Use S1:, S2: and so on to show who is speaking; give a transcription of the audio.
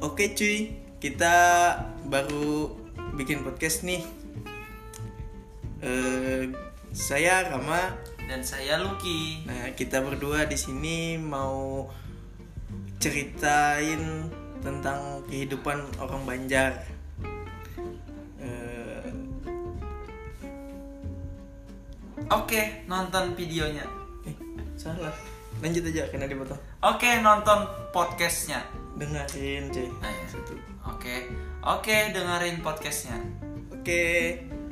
S1: Oke cuy, kita baru bikin podcast nih. Eh, saya Rama.
S2: dan saya Lucky
S1: Nah, kita berdua di sini mau ceritain tentang kehidupan orang Banjar. Eh,
S2: oke nonton videonya
S1: eh, salah. Lanjut aja karena dipotong.
S2: oke nonton podcastnya
S1: Dengerin cuy.
S2: Ah, ya.
S1: Satu.
S2: oke oke dengerin podcastnya
S1: Oke.